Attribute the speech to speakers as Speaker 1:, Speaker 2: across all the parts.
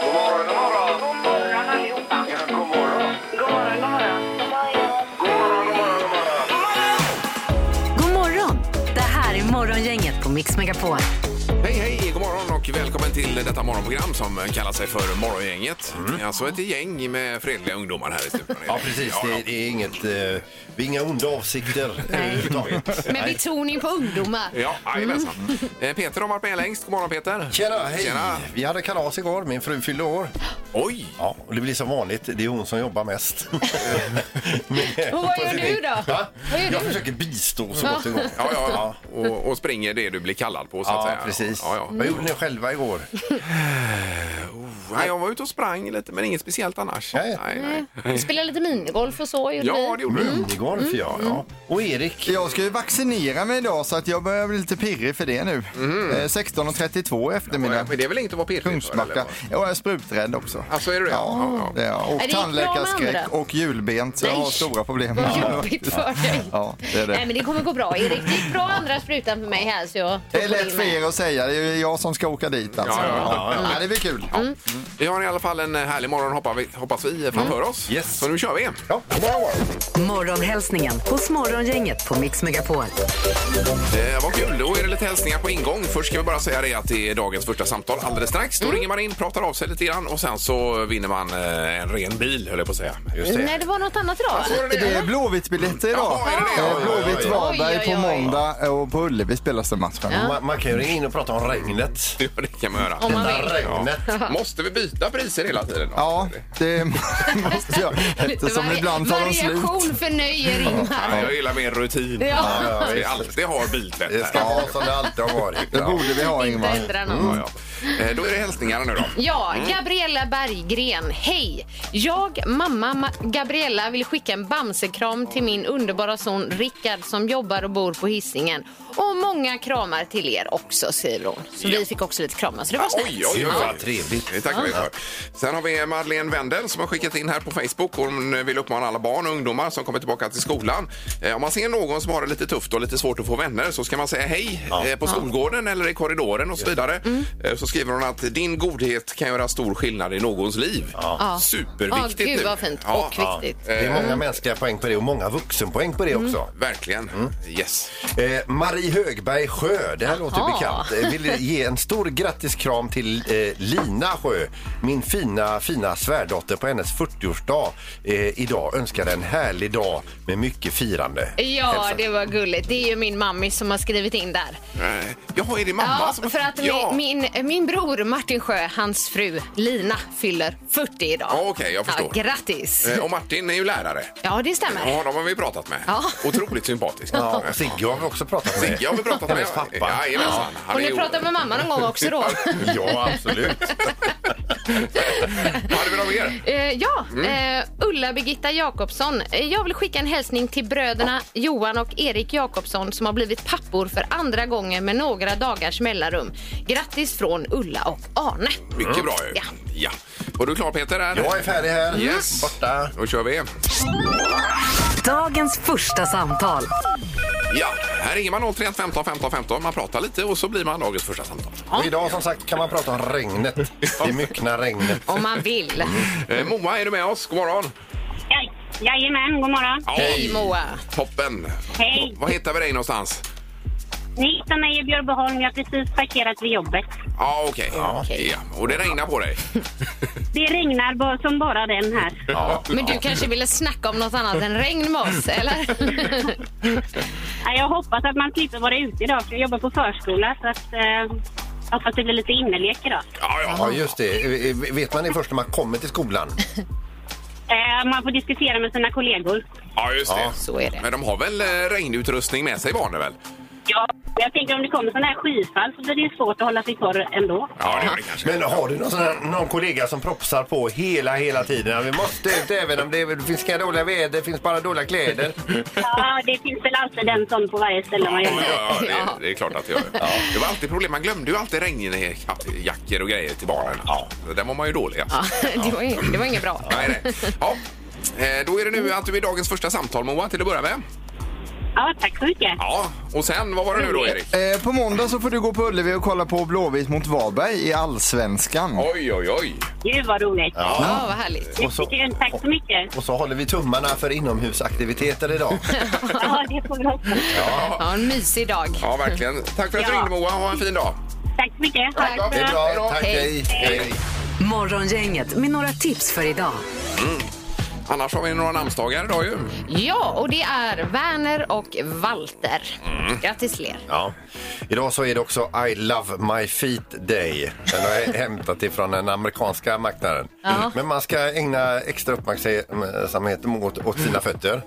Speaker 1: God morgon, god morgon.
Speaker 2: God morgon allihopa.
Speaker 1: Ja, god morgon.
Speaker 2: God morgon, god morgon.
Speaker 1: God morgon, god morgon, god morgon.
Speaker 3: God morgon! Det här är Morgongänget på Mix Megapol.
Speaker 4: Hej, hej, god morgon och välkommen till detta morgonprogram som kallar sig för Morgongänget. Alltså ett gäng med fredliga ungdomar här i studion.
Speaker 5: Mm. Ja, precis.
Speaker 4: Ja,
Speaker 5: Det, det är inget, eh, vi har inga onda avsikter överhuvudtaget.
Speaker 6: Med betoning på ungdomar.
Speaker 4: ja. ja jajamensan.
Speaker 5: Mm.
Speaker 4: Eh, Peter har varit med längst. God morgon Peter.
Speaker 5: Tjena, hej!
Speaker 4: Tjena.
Speaker 5: Vi hade kalas igår, min fru fyllde år.
Speaker 4: Oj!
Speaker 5: Ja, och det blir som vanligt, det är hon som jobbar mest. Men-
Speaker 6: Och vad gör du då?
Speaker 5: Va?
Speaker 6: Vad gör
Speaker 5: Jag
Speaker 6: du?
Speaker 5: försöker bistå så gott det går.
Speaker 4: Ja, ja, Och, och springer det du blir kallad på så att
Speaker 5: Ja,
Speaker 4: säga.
Speaker 5: precis.
Speaker 4: Ja, ja.
Speaker 5: Vad gjorde ni själva igår?
Speaker 4: Nej, jag var ute och sprang lite men inget speciellt annars.
Speaker 5: Nej. Mm.
Speaker 4: nej.
Speaker 6: Vi spelade lite minigolf och så gjorde
Speaker 4: Ja, det
Speaker 6: vi.
Speaker 4: gjorde du.
Speaker 5: Minigolf,
Speaker 6: Mm,
Speaker 5: ja, ja. Och Erik?
Speaker 7: Jag ska ju vaccinera mig idag så att jag börjar bli lite pirrig för det nu.
Speaker 4: Mm.
Speaker 7: Eh, 16.32 i eftermiddag.
Speaker 4: Men det är väl inget att vara pirrig för? eller
Speaker 7: Kungsbacka.
Speaker 4: vad?
Speaker 7: Ja, jag är spruträdd också.
Speaker 4: Alltså är du det?
Speaker 7: Ja,
Speaker 4: Ja,
Speaker 7: det är jag.
Speaker 6: det
Speaker 7: Och
Speaker 6: gick bra med
Speaker 7: tandläkarskräck
Speaker 6: andra.
Speaker 7: och julbent. Så jag
Speaker 6: Nej.
Speaker 7: har stora problem.
Speaker 6: Vad jobbigt för dig.
Speaker 7: Ja, det är
Speaker 6: Nej,
Speaker 7: det.
Speaker 6: men det kommer gå bra Erik. Det gick bra andra sprutan för mig här så jag
Speaker 7: Det är lätt
Speaker 6: tog
Speaker 7: för
Speaker 6: till mig.
Speaker 7: er att säga. Det är ju jag som ska åka dit alltså.
Speaker 4: Ja, ja, Mm.
Speaker 7: Ja, ja. Ja, det blir kul.
Speaker 4: Vi har i alla fall en härlig morgon hoppas vi, hoppas vi framför oss.
Speaker 5: Mm. Yes.
Speaker 4: Så nu kör vi.
Speaker 5: Ja.
Speaker 3: Morgonhälsningen hos Morgongänget på Mix Megapol.
Speaker 4: Eh, vad kul, då är det lite hälsningar på ingång. Först ska vi bara säga det att det är dagens första samtal alldeles strax. Då
Speaker 6: Mm.
Speaker 4: ringer man in, pratar av sig lite grann och sen så vinner man eh, en ren bil höll jag på att säga. Just
Speaker 6: Nej, det var något annat idag. va?
Speaker 7: Det är Blåvitt-biljetter idag.
Speaker 4: Jaha, är det det?
Speaker 7: Eh,
Speaker 4: Oj,
Speaker 7: Blåvitt
Speaker 5: oj, oj.
Speaker 7: Varberg
Speaker 6: Oj,
Speaker 7: på
Speaker 6: oj, oj.
Speaker 7: måndag och på Ullevi spelas det matchen.
Speaker 5: Man, man kan ju ringa in och prata om regnet.
Speaker 4: Ja, det kan man göra.
Speaker 6: Om man Mm. vill.
Speaker 5: Regnet.
Speaker 4: Måste vi byta priser hela tiden? då?
Speaker 7: Ja, det måste jag. Eftersom
Speaker 6: Vari-
Speaker 7: ibland tar de slut.
Speaker 6: Variation förnöjer
Speaker 4: Nej,
Speaker 6: Ingmar.
Speaker 4: Jag gillar mer rutin.
Speaker 6: Ja.
Speaker 5: ja,
Speaker 4: Vi
Speaker 5: visst.
Speaker 4: alltid har biltvätt
Speaker 5: Det
Speaker 4: här.
Speaker 5: ska vara som det alltid har varit.
Speaker 7: Det borde vi ha
Speaker 6: Inte
Speaker 7: Ingmar.
Speaker 6: ändra något.
Speaker 4: Ja, Mm. ja. Eh, Då är det hälsningar nu då.
Speaker 6: Ja, Gabriella Berggren. Hej! Jag, mamma Ma- Gabriella, vill skicka en bamsekram till min underbara son Rickard som jobbar och bor på Hisingen. Och många kramar till er också, säger hon. Så vi fick också lite kramar, så det var snällt.
Speaker 4: Oj, oj, oj.
Speaker 5: Vad trevligt.
Speaker 4: Det tackar vi för. Sen har vi Madeleine Wendel som har skickat in här på Facebook. Hon vill uppmana alla barn och ungdomar som kommer tillbaka till skolan. Eh, Om man ser någon som har det lite tufft och lite svårt att få vänner så ska man säga hej eh, på skolgården eller i korridoren och så vidare.
Speaker 6: Mm.
Speaker 4: Eh, Så skriver hon att din godhet kan göra stor skillnad i någons liv.
Speaker 6: Ja.
Speaker 4: Superviktigt.
Speaker 6: Ja, gud
Speaker 4: nu.
Speaker 6: vad fint.
Speaker 4: Ja,
Speaker 6: Och
Speaker 4: ja.
Speaker 6: viktigt.
Speaker 5: Det är
Speaker 4: Eh.
Speaker 5: många mänskliga poäng på det och många vuxenpoäng på det också.
Speaker 4: Verkligen.
Speaker 5: Mm.
Speaker 4: Yes.
Speaker 5: Eh, Marie Högberg Sjö, det här låter bekant, eh, vill ge en stor grattiskram till eh, Lina Sjö. Min fina, fina svärdotter på hennes 40-årsdag eh, idag önskar en härlig dag med mycket firande.
Speaker 6: Ja, det var gulligt. Det är ju min mammi som har skrivit in där.
Speaker 4: Eh, Jaha, är det mamma
Speaker 6: Ja,
Speaker 4: som...
Speaker 6: för att
Speaker 4: Ja.
Speaker 6: min, min, min bror Martin Sjö, hans fru Lina, fyller 40 idag.
Speaker 4: Ja, okej, jag förstår.
Speaker 6: Ja, grattis!
Speaker 4: Eh, Och Martin är ju lärare.
Speaker 6: Ja, det stämmer.
Speaker 4: Ja, honom har vi pratat med.
Speaker 6: Ja.
Speaker 4: Otroligt Eh, sympatisk.
Speaker 5: Ja, och Sigge har vi också pratat med.
Speaker 4: Sigge har vi pratat med.
Speaker 5: Hennes pappa.
Speaker 4: Ja, jajamensan. Han
Speaker 6: Och
Speaker 4: är
Speaker 6: ni
Speaker 4: ju-
Speaker 6: pratar med mamma någon gång också då?
Speaker 5: Ja, absolut.
Speaker 4: Vad hade vi då mer?
Speaker 6: Eh, ja,
Speaker 4: Mm.
Speaker 6: eh, Ulla Birgitta Jakobsson. Eh, Jag vill skicka en hälsning till bröderna Johan och Erik Jakobsson som har blivit pappor för andra gången med några dagars mellanrum. Grattis från Ulla och Arne.
Speaker 4: Mycket bra ju.
Speaker 6: Ja.
Speaker 4: Ja. Var du klar Peter? Där?
Speaker 5: Mm. Jag är färdig här.
Speaker 4: Yes.
Speaker 5: Borta.
Speaker 4: Då kör vi.
Speaker 3: Dagens första samtal.
Speaker 4: Ja, här ringer man 031 15 15 15. Man pratar lite och så blir man dagens första samtal.
Speaker 5: Och idag som sagt kan man prata om regnet. Det myckna regnet.
Speaker 6: Om man vill.
Speaker 4: Eh, Moa, är du med oss? God morgon.
Speaker 8: Ja, jajamän, god morgon.
Speaker 4: Ja,
Speaker 6: Hej Moa.
Speaker 4: Toppen.
Speaker 8: Hej.
Speaker 4: Var hittar vi dig någonstans?
Speaker 8: Ni hittar mig i Björbyholm. Jag har precis parkerat vid jobbet.
Speaker 4: Ja, okej. Ja.
Speaker 6: Okej.
Speaker 4: Ja. Och det regnar på dig?
Speaker 8: Det regnar bara som bara den här.
Speaker 4: Ja.
Speaker 6: Men du kanske ville snacka om något annat än regn med oss, eller?
Speaker 8: Ja, Jag hoppas att man slipper vara ute idag, för jag jobbar på förskola. Så att, eh, hoppas det blir lite innelek idag.
Speaker 4: Ja, ja.
Speaker 5: Ja, just det. Eh, Vet man det först när man kommer till skolan?
Speaker 8: Eh, man får diskutera med sina kollegor.
Speaker 4: ja just det.
Speaker 5: Ja.
Speaker 6: Så är det.
Speaker 4: Men de har väl eh, regnutrustning med sig, barnen väl?
Speaker 8: Ja, jag tänker om det kommer sådana här skyfall så blir det ju svårt att hålla sig kvar ändå.
Speaker 4: Ja, det gör det kanske.
Speaker 5: Men har du någon, sån här, någon kollega som propsar på hela, hela tiden? Ja, Vi måste ut även om det, det finns inga dåliga väder, det finns bara dåliga kläder.
Speaker 8: Ja, det finns väl alltid en sån på varje ställe man
Speaker 4: Ja,
Speaker 8: jobbar.
Speaker 4: ja, ja,
Speaker 6: Ja.
Speaker 4: det, det är klart att det gör det. Det var alltid problem. Man glömde ju alltid regnjackor och grejer till barnen. Ja. Där var man ju dålig. Alltså.
Speaker 6: Ja, det, var, ing- det var inget bra.
Speaker 4: Nej, nej. Ja. Eh, Då är det nu att du är dagens första samtal, Moa, till att börja med.
Speaker 8: Ja, tack så mycket.
Speaker 4: Ja, och sen, vad var det nu då Erik?
Speaker 7: Eh, på måndag så får du gå på Ullevi och kolla på Blåvitt mot Varberg i Allsvenskan.
Speaker 4: Oj, oj, oj.
Speaker 8: Gud vad roligt.
Speaker 6: Ja, vad härligt.
Speaker 5: Och så-
Speaker 8: Jättekul. Tack så mycket.
Speaker 5: Och så håller vi tummarna för inomhusaktiviteter idag.
Speaker 8: Ja, det får vi hoppas.
Speaker 6: Ja, en mysig dag.
Speaker 4: Ja, verkligen. Tack för att du
Speaker 8: Ja.
Speaker 4: ringde Moa. Ha en fin dag.
Speaker 8: Tack så mycket. Ha det
Speaker 5: Det är
Speaker 8: bra.
Speaker 5: bra. Tack, hej. hej.
Speaker 3: Morgongänget med några tips för idag.
Speaker 4: Annars har vi några namnsdagar idag ju.
Speaker 6: Ja, och det är Werner och Walter.
Speaker 5: Mm.
Speaker 6: Grattis till er.
Speaker 5: Ja. Idag så är det också I love my feet day. Den har jag hämtat ifrån den amerikanska marknaden. Men man ska ägna extra uppmärksamhet åt, åt sina fötter.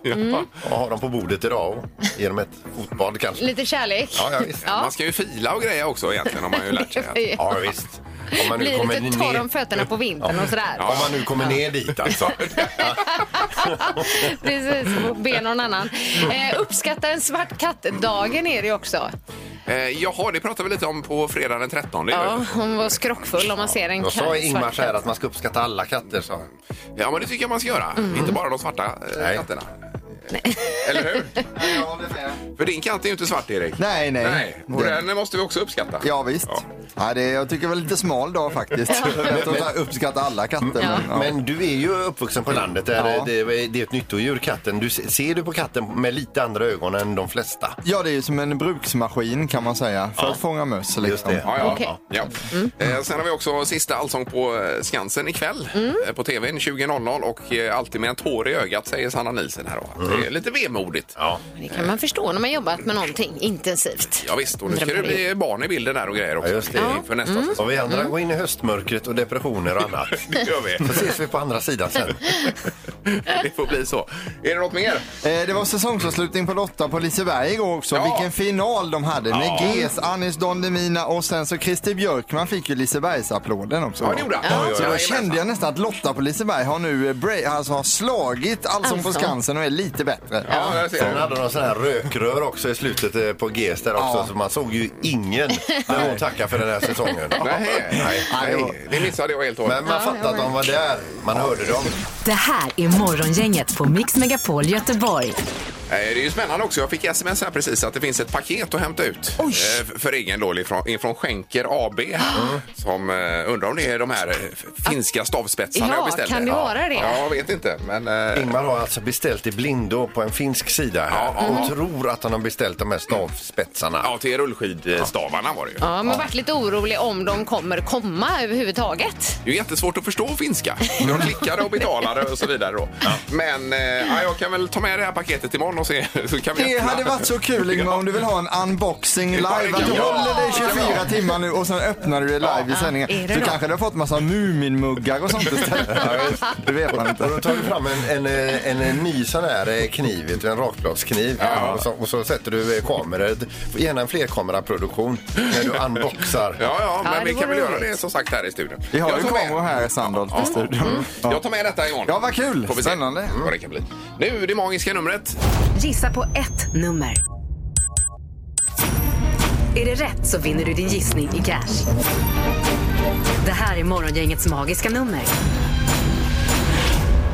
Speaker 5: Och ha dem på bordet idag och genom ett fotbad kanske.
Speaker 6: Lite kärlek.
Speaker 5: Ja, ja, visst.
Speaker 6: Ja.
Speaker 4: Man ska ju fila och greja också egentligen har man ju lärt sig.
Speaker 5: Ja, visst. Om man
Speaker 6: Blir lite torr om fötterna på vintern och sådär.
Speaker 5: Om man nu kommer ner dit alltså.
Speaker 6: Precis, och be någon annan.
Speaker 5: Mm.
Speaker 6: Eh, uppskatta en svart katt-dagen är det ju också.
Speaker 4: Eh, jaha, det pratade vi lite om på fredag den 13.
Speaker 6: Ja,
Speaker 4: Ja.
Speaker 6: hon var skrockfull om man ser en
Speaker 5: Då
Speaker 6: katt.
Speaker 5: sa Ingmar
Speaker 6: svart
Speaker 5: så här
Speaker 6: katt.
Speaker 5: att man ska uppskatta alla katter. Så.
Speaker 4: ja, men det tycker jag man ska göra. Inte bara de svarta eh,
Speaker 5: Nej.
Speaker 4: katterna. Eller hur? För din katt är ju inte svart, Erik.
Speaker 7: Nej, nej.
Speaker 4: Nej, och
Speaker 7: Det-
Speaker 4: den måste vi också uppskatta.
Speaker 7: Ja, visst. Ja. det, jag tycker det var lite smal dag faktiskt. Lätt att ta- uppskatta alla katter. Men, ja.
Speaker 5: Men du är ju uppvuxen på landet där
Speaker 7: Ja.
Speaker 5: det, det är ett nyttodjur, katten. Du, se- ser du på katten med lite andra ögon än de flesta?
Speaker 7: ja, det är ju som en bruksmaskin kan man säga. För att fånga möss
Speaker 5: Just
Speaker 7: liksom.
Speaker 5: det.
Speaker 4: Ja, ja,
Speaker 6: Okej.
Speaker 4: ja. Eh, sen har vi också sista Allsång på eh, Skansen ikväll eh, på tvn 20.00 och eh, alltid med en tår i ögat säger Sanna Nielsen här då. Det är lite vemodigt.
Speaker 5: Ja.
Speaker 6: Det kan man förstå när man jobbat med någonting intensivt.
Speaker 4: Ja, visst, och nu ska det bli barn i bilden här och grejer också.
Speaker 5: Ja, just det.
Speaker 4: Inför nästa säsong.
Speaker 5: Och vi andra går in i höstmörkret och depressioner och annat.
Speaker 4: Mm. Det gör vi.
Speaker 5: Så ses vi på andra sidan sen.
Speaker 4: Det får bli så. Är det något mer?
Speaker 7: Eh, Det var säsongsavslutning på Lotta på Liseberg igår också.
Speaker 4: Ja.
Speaker 7: Vilken final de hade med GES, Anis Don Demina och sen så Christer Björkman fick ju Lisebergsapplåden också.
Speaker 4: Ja, det gjorde han. Ja.
Speaker 7: Så då
Speaker 4: Jajamensan.
Speaker 7: kände jag nästan att Lotta på Liseberg har nu eh, bra- alltså har slagit Allsång på
Speaker 6: Allsång.
Speaker 7: Skansen och är lite bättre.
Speaker 4: Ja, jag ser
Speaker 5: Sen
Speaker 4: det.
Speaker 5: hade de sån här rökrör också i slutet eh, på GES där också
Speaker 7: Ja.
Speaker 5: så man såg ju ingen när hon tackade för den här säsongen.
Speaker 4: Nej, nej, nej, det missade jag helt och hållet.
Speaker 5: Men man fattade att de var där. Man hörde dem.
Speaker 3: Det här är Morgongänget på Mix Megapol Göteborg.
Speaker 4: Eh, Det är ju spännande också. Jag fick sms här precis att det finns ett paket att hämta ut. eh, f- För egen lån ifrån, ifrån Schenker AB. Som eh, undrar om det är de här eh, f- finska stavspetsarna
Speaker 6: Ja,
Speaker 4: jag beställde.
Speaker 6: kan det vara det?
Speaker 4: Ja, jag vet inte. Men, eh,
Speaker 5: Ingmar har alltså beställt i blindo på en finsk sida här
Speaker 4: Ja,
Speaker 5: och tror att han har beställt de här stavspetsarna.
Speaker 4: ja, till rullskidstavarna var det ju.
Speaker 6: Ja, men varit lite orolig om de kommer komma överhuvudtaget.
Speaker 4: Det är ju jättesvårt att förstå finska. De klickade och betalade och så vidare. Då. Men eh, ja, jag kan väl ta med det här paketet imorgon och se. Så kan vi
Speaker 7: Det
Speaker 4: öppna.
Speaker 7: hade varit så kul Ingmar om du vill ha en unboxing live.
Speaker 4: Ja, det
Speaker 7: Att
Speaker 4: kan
Speaker 7: du
Speaker 4: jag.
Speaker 7: håller dig
Speaker 4: Det kan jag.
Speaker 7: 24 timmar nu och sen öppnar du det live i sändningen.
Speaker 6: är det
Speaker 7: Så
Speaker 6: då?
Speaker 7: kanske du har fått massa Muminmuggar och sånt istället. Det vet man
Speaker 5: Och
Speaker 7: inte.
Speaker 5: då tar vi fram en, en, eh, en, en ny sån här eh, kniv, vet du, en rakbladskniv. Och, så, och så sätter du eh, kameror, gärna en flerkameraproduktion, när du unboxar.
Speaker 4: Ja, ja, men
Speaker 6: det
Speaker 4: vi kan väl
Speaker 6: vore
Speaker 4: göra
Speaker 6: roligt.
Speaker 4: det som sagt här i studion.
Speaker 7: Vi har
Speaker 4: Jag
Speaker 7: ju
Speaker 4: tar med- Mm.
Speaker 7: kameror här i Sandholt i studion.
Speaker 4: Jag tar med detta imorgon.
Speaker 7: Ja, vad kul.
Speaker 4: Får vi se
Speaker 7: Spännande.
Speaker 4: Vad det kan bli. Nu det magiska numret.
Speaker 3: Gissa på ett nummer. Är det rätt så vinner du din gissning i cash. Det här är Morgongängets magiska nummer.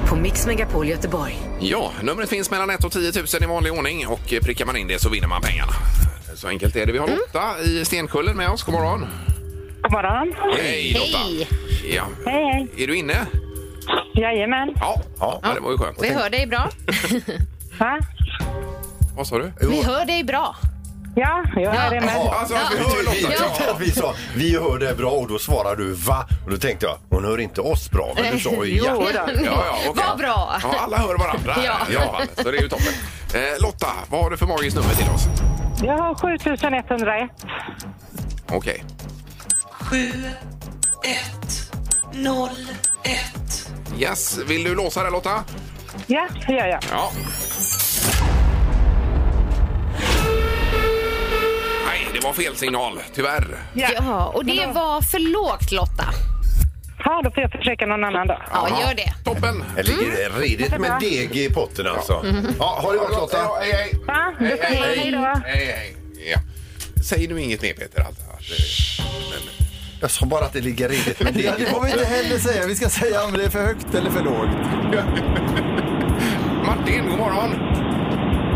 Speaker 3: På Mix Megapol Göteborg.
Speaker 4: Ja, numret finns mellan 1 och 10 000 i vanlig ordning och eh, prickar man in det så vinner man pengarna. Så enkelt är det. Vi har Lotta i Stenkullen med oss. God morgon.
Speaker 2: God morgon.
Speaker 4: Hej Lotta.
Speaker 6: Hej!
Speaker 4: Ja.
Speaker 2: Hej, hej.
Speaker 4: Är du inne?
Speaker 2: Jajamän.
Speaker 4: Ja. ja. det var ju skönt.
Speaker 6: Vi hör dig bra.
Speaker 2: Va?
Speaker 4: Vad sa du?
Speaker 6: Vi hör dig bra.
Speaker 2: Ja, jag
Speaker 6: Ja.
Speaker 2: är det med.
Speaker 4: Alltså, att vi hör
Speaker 5: Vi,
Speaker 4: Lotta. Ja.
Speaker 5: vi sa vi hör det bra och då svarar du va? Och då tänkte jag hon hör inte oss bra men du sa ju ja.
Speaker 4: Ja, ja, okej.
Speaker 6: Vad bra!
Speaker 4: Ja, alla hör varandra.
Speaker 6: Ja.
Speaker 4: ja, så det är ju toppen. Eh, Lotta, vad har du för magiskt nummer till oss?
Speaker 2: Jag har 7101.
Speaker 4: Okej.
Speaker 9: 01.
Speaker 4: Yes, vill du låsa det Lotta?
Speaker 2: Ja, det gör jag.
Speaker 4: Ja. Nej, det var fel signal, tyvärr.
Speaker 6: Ja, och det var för lågt Lotta.
Speaker 2: Ja, då får jag försöka någon annan dag.
Speaker 6: Ja, gör det.
Speaker 4: Toppen! Mm.
Speaker 5: Det ligger redigt med deg i potten alltså. Ja, har det varit Lotta?
Speaker 4: Hej, hej!
Speaker 2: Va? Du får
Speaker 4: Hej,
Speaker 2: ha
Speaker 6: hej.
Speaker 2: hej då.
Speaker 4: hej, hej. Ja. Säg nu inget mer Peter. Alltså.
Speaker 5: Jag sa bara att det ligger redigt med deg i
Speaker 7: Det får vi
Speaker 5: potten.
Speaker 7: inte heller säga. Vi ska säga om det är för högt eller för lågt.
Speaker 4: Martin, god morgon!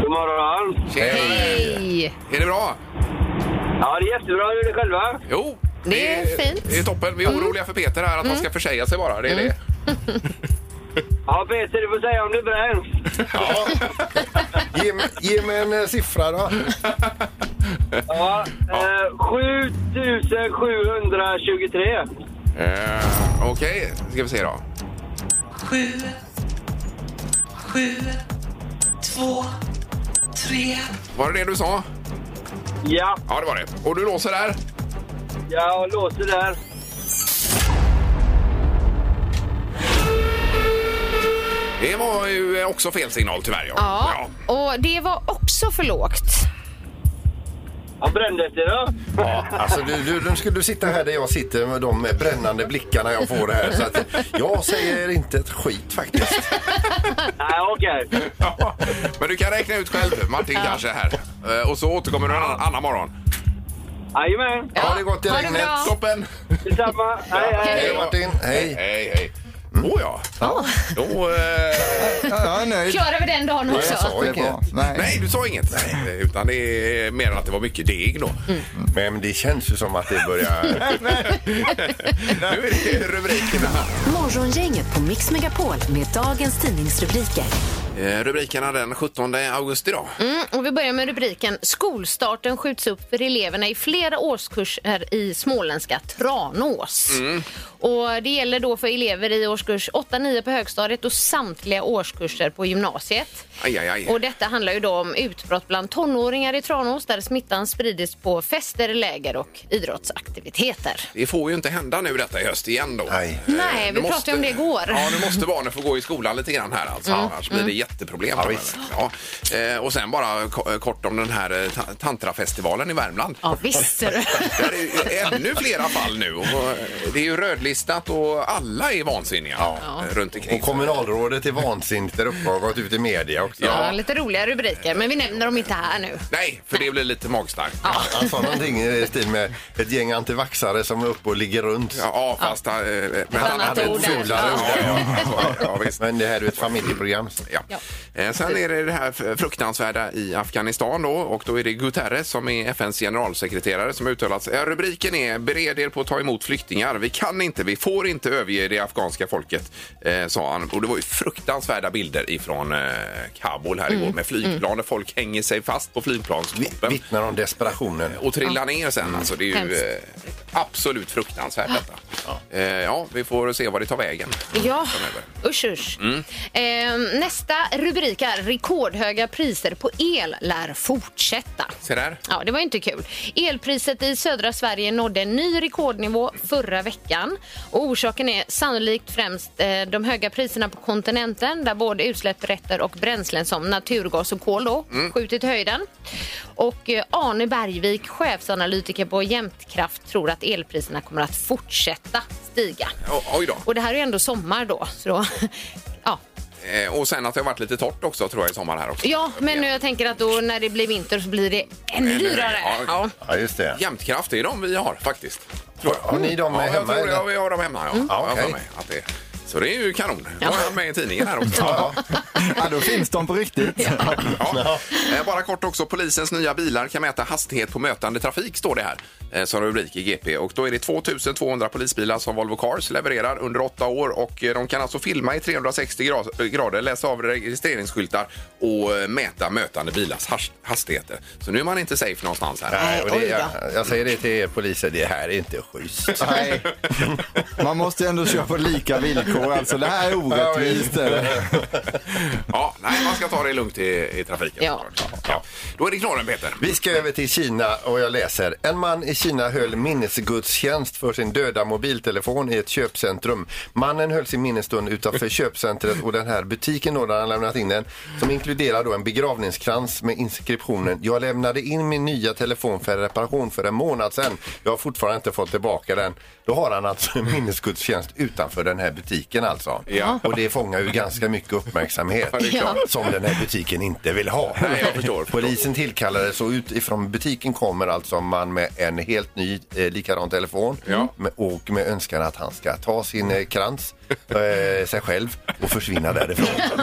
Speaker 1: God morgon.
Speaker 9: morgon.
Speaker 6: Hej!
Speaker 4: Är det bra?
Speaker 9: Ja, det är jättebra. Hur är det själva?
Speaker 4: Jo.
Speaker 6: Det är fint. Mm.
Speaker 4: Det är toppen. Vi är oroliga för Peter här, att han ska försäga sig bara. Det är det.
Speaker 9: Ja, Peter, du får säga om du bränns.
Speaker 5: Ja. ge, mig- ge mig en eh, siffra då.
Speaker 9: Ja, eh, 7723.
Speaker 4: Eh, Okej, ska vi se då. Var det det du sa?
Speaker 9: Ja,
Speaker 4: Ja, det var det. Och du låser där?
Speaker 9: jag låser där.
Speaker 4: Det var ju också fel signal tyvärr. Ja.
Speaker 6: Ja, och det var också för lågt.
Speaker 9: Jag brändes det då?
Speaker 5: Ja, alltså du, du, nu skulle du sitta här där jag sitter med de brännande blickarna jag får här. Så att jag säger inte ett skit faktiskt.
Speaker 9: Nej, okej.
Speaker 4: Ja. Men du kan räkna ut själv, Martin kanske här. Eh, Och så återkommer du en annan, annan morgon.
Speaker 9: Jajamän.
Speaker 5: Ja, det är gott i
Speaker 6: ha det
Speaker 5: regnet.
Speaker 6: bra.
Speaker 4: Toppen!
Speaker 9: Detsamma. Hej, hej.
Speaker 5: Hej Martin, hej.
Speaker 4: Hej, hej.
Speaker 6: Mm.
Speaker 4: Åh ja. Då, eh,
Speaker 7: Ja, jag är nöjd.
Speaker 6: Klarar vi den dagen
Speaker 5: jag
Speaker 6: också?
Speaker 5: sa
Speaker 7: Det är bra. Nej.
Speaker 4: nej, du sa inget. Nej, utan det är mer att det var mycket deg då.
Speaker 6: Mm.
Speaker 5: Men det känns ju som att det börjar...
Speaker 4: Nu är det rubrikerna.
Speaker 3: Morgongänget på Mix Megapol med dagens tidningsrubriker.
Speaker 4: Eh, Rubrikerna den 17 augusti idag.
Speaker 6: Mm, och vi börjar med rubriken Skolstarten skjuts upp för eleverna i flera årskurser i småländska Tranås.
Speaker 4: Mm.
Speaker 6: Och det gäller då för elever i årskurs 8-9 på högstadiet och samtliga årskurser på gymnasiet.
Speaker 4: Aj, aj, aj.
Speaker 6: Och detta handlar ju då om utbrott bland tonåringar i Tranås där smittan spridits på fester, läger och idrottsaktiviteter.
Speaker 4: Det får ju inte hända nu detta i höst igen då.
Speaker 5: Nej.
Speaker 6: Nej,
Speaker 4: Eh,
Speaker 6: vi
Speaker 4: nu
Speaker 6: pratade ju om det igår. Mm.
Speaker 4: Ja, nu måste barnen få gå i skolan lite grann här alltså. Annars blir det jätteproblem.
Speaker 5: Ja,
Speaker 4: framöver.
Speaker 5: visst.
Speaker 4: Ja. Eh, Och sen bara ko- eh, kort om den här eh, ta- tantrafestivalen i Värmland.
Speaker 6: Ja, visst. ser du.
Speaker 4: Där är ju ännu flera fall nu. Och eh, det är ju rödlistat och alla är vansinniga eh, runt omkring.
Speaker 5: Och kommunalrådet är vansinnigt där uppe och har gått ut i media också.
Speaker 6: Ja, lite roliga rubriker, men vi nämner dem inte här nu.
Speaker 4: Nej, för det blir lite magstarkt.
Speaker 5: Han sa någonting i stil med ett gäng antivaxare som är uppe och ligger runt.
Speaker 4: Ja, fast... eh, Men
Speaker 6: annat
Speaker 4: han hade ett
Speaker 6: ord där.
Speaker 4: fulare ord. Ja, ja, visst.
Speaker 5: Men det här är ju ett familjeprogram. så-
Speaker 4: Ja.
Speaker 6: Ja.
Speaker 4: Eh, Sen är det det här fruktansvärda i Afghanistan då och då är det Guterres som är FNs generalsekreterare som uttalat sig. Eh, Rubriken är “Bered er på att ta emot flyktingar. Vi kan inte, vi får inte överge det afghanska folket”, eh, sa han. Och det var ju fruktansvärda bilder ifrån eh, Kabul här igår med flygplan där folk hänger sig fast på flygplanskroppen
Speaker 5: Vittnar om desperationen.
Speaker 4: och trillar ner sen. Alltså, det är ju
Speaker 6: Hemskt.
Speaker 4: eh, absolut fruktansvärt detta. Ja. ja, vi får se vad det tar vägen.
Speaker 6: Ja,
Speaker 4: framöver.
Speaker 6: usch usch. Eh, nästa rubrik är rekordhöga priser på el lär fortsätta.
Speaker 4: Se där.
Speaker 6: Ja, det var ju inte kul. Elpriset i södra Sverige nådde en ny rekordnivå förra veckan. Och orsaken är sannolikt främst eh, de höga priserna på kontinenten där både utsläppsrätter och bränslen som naturgas och kol då, skjutit i höjden. Och eh, Arne Bergvik, chefsanalytiker på Jämtkraft, tror att elpriserna kommer att fortsätta stiga.
Speaker 4: O- Oj då.
Speaker 6: Och det här är ju ändå sommar då. Så då ja.
Speaker 4: Eh, Och sen att det har varit lite torrt också tror jag i sommar här också.
Speaker 6: ja, men jag tänker att då när det blir vinter så blir det ännu
Speaker 4: Ännu-
Speaker 6: dyrare.
Speaker 4: ja.
Speaker 6: Ja.
Speaker 5: Ja, just det.
Speaker 4: Jämtkraft, det är de vi har faktiskt.
Speaker 5: Har ni dem
Speaker 4: ja,
Speaker 5: hemma?
Speaker 4: jag tror
Speaker 5: eller? Mm.
Speaker 4: jag, vi har dem hemma. Ja.
Speaker 5: Ja,
Speaker 4: Jag har för
Speaker 5: okej.
Speaker 4: mig att det, så det är ju kanon. Ja. Var jag med i tidningen här också.
Speaker 7: Ja, då finns de på riktigt.
Speaker 4: Ja. Eh, Bara kort också, polisens nya bilar kan mäta hastighet på mötande trafik står det här eh, som rubrik i GP. Och då är det 2200 polisbilar som Volvo Cars levererar under åtta år och eh, de kan alltså filma i 360 gra- eh, grader, läsa av registreringsskyltar och eh, mäta mötande bilars has- hastigheter. Så nu är man inte safe någonstans här.
Speaker 5: Nej, och det, jag, jag säger det till er poliser, det här är inte schysst.
Speaker 7: Nej. Man måste ju ändå köra på lika villkor. Alltså, det här är orättvist.
Speaker 4: Ja, nej, man ska ta det lugnt i, i trafiken.
Speaker 6: Ja.
Speaker 4: såklart. Ja. Då är det knorren, Peter.
Speaker 5: Vi ska över till Kina och jag läser. En man i Kina höll minnesgudstjänst för sin döda mobiltelefon i ett köpcentrum. Mannen höll sin minnesstund utanför köpcentret och den här butiken då där han lämnat in den som inkluderar då en begravningskrans med inskriptionen Jag lämnade in min nya telefon för reparation för en månad sedan. Jag har fortfarande inte fått tillbaka den. Då har han alltså en minnesgudstjänst utanför den här butiken. butiken alltså.
Speaker 4: Ja.
Speaker 5: Och det fångar ju ganska mycket uppmärksamhet
Speaker 4: Ja, det är klart.
Speaker 5: som den här butiken inte vill ha.
Speaker 4: Nej, jag förstår.
Speaker 5: Polisen tillkallades och utifrån butiken kommer alltså en man med en helt ny eh, likadan telefon
Speaker 4: Ja.
Speaker 5: med, och med önskan att han ska ta sin eh, krans, eh, sig själv och försvinna därifrån.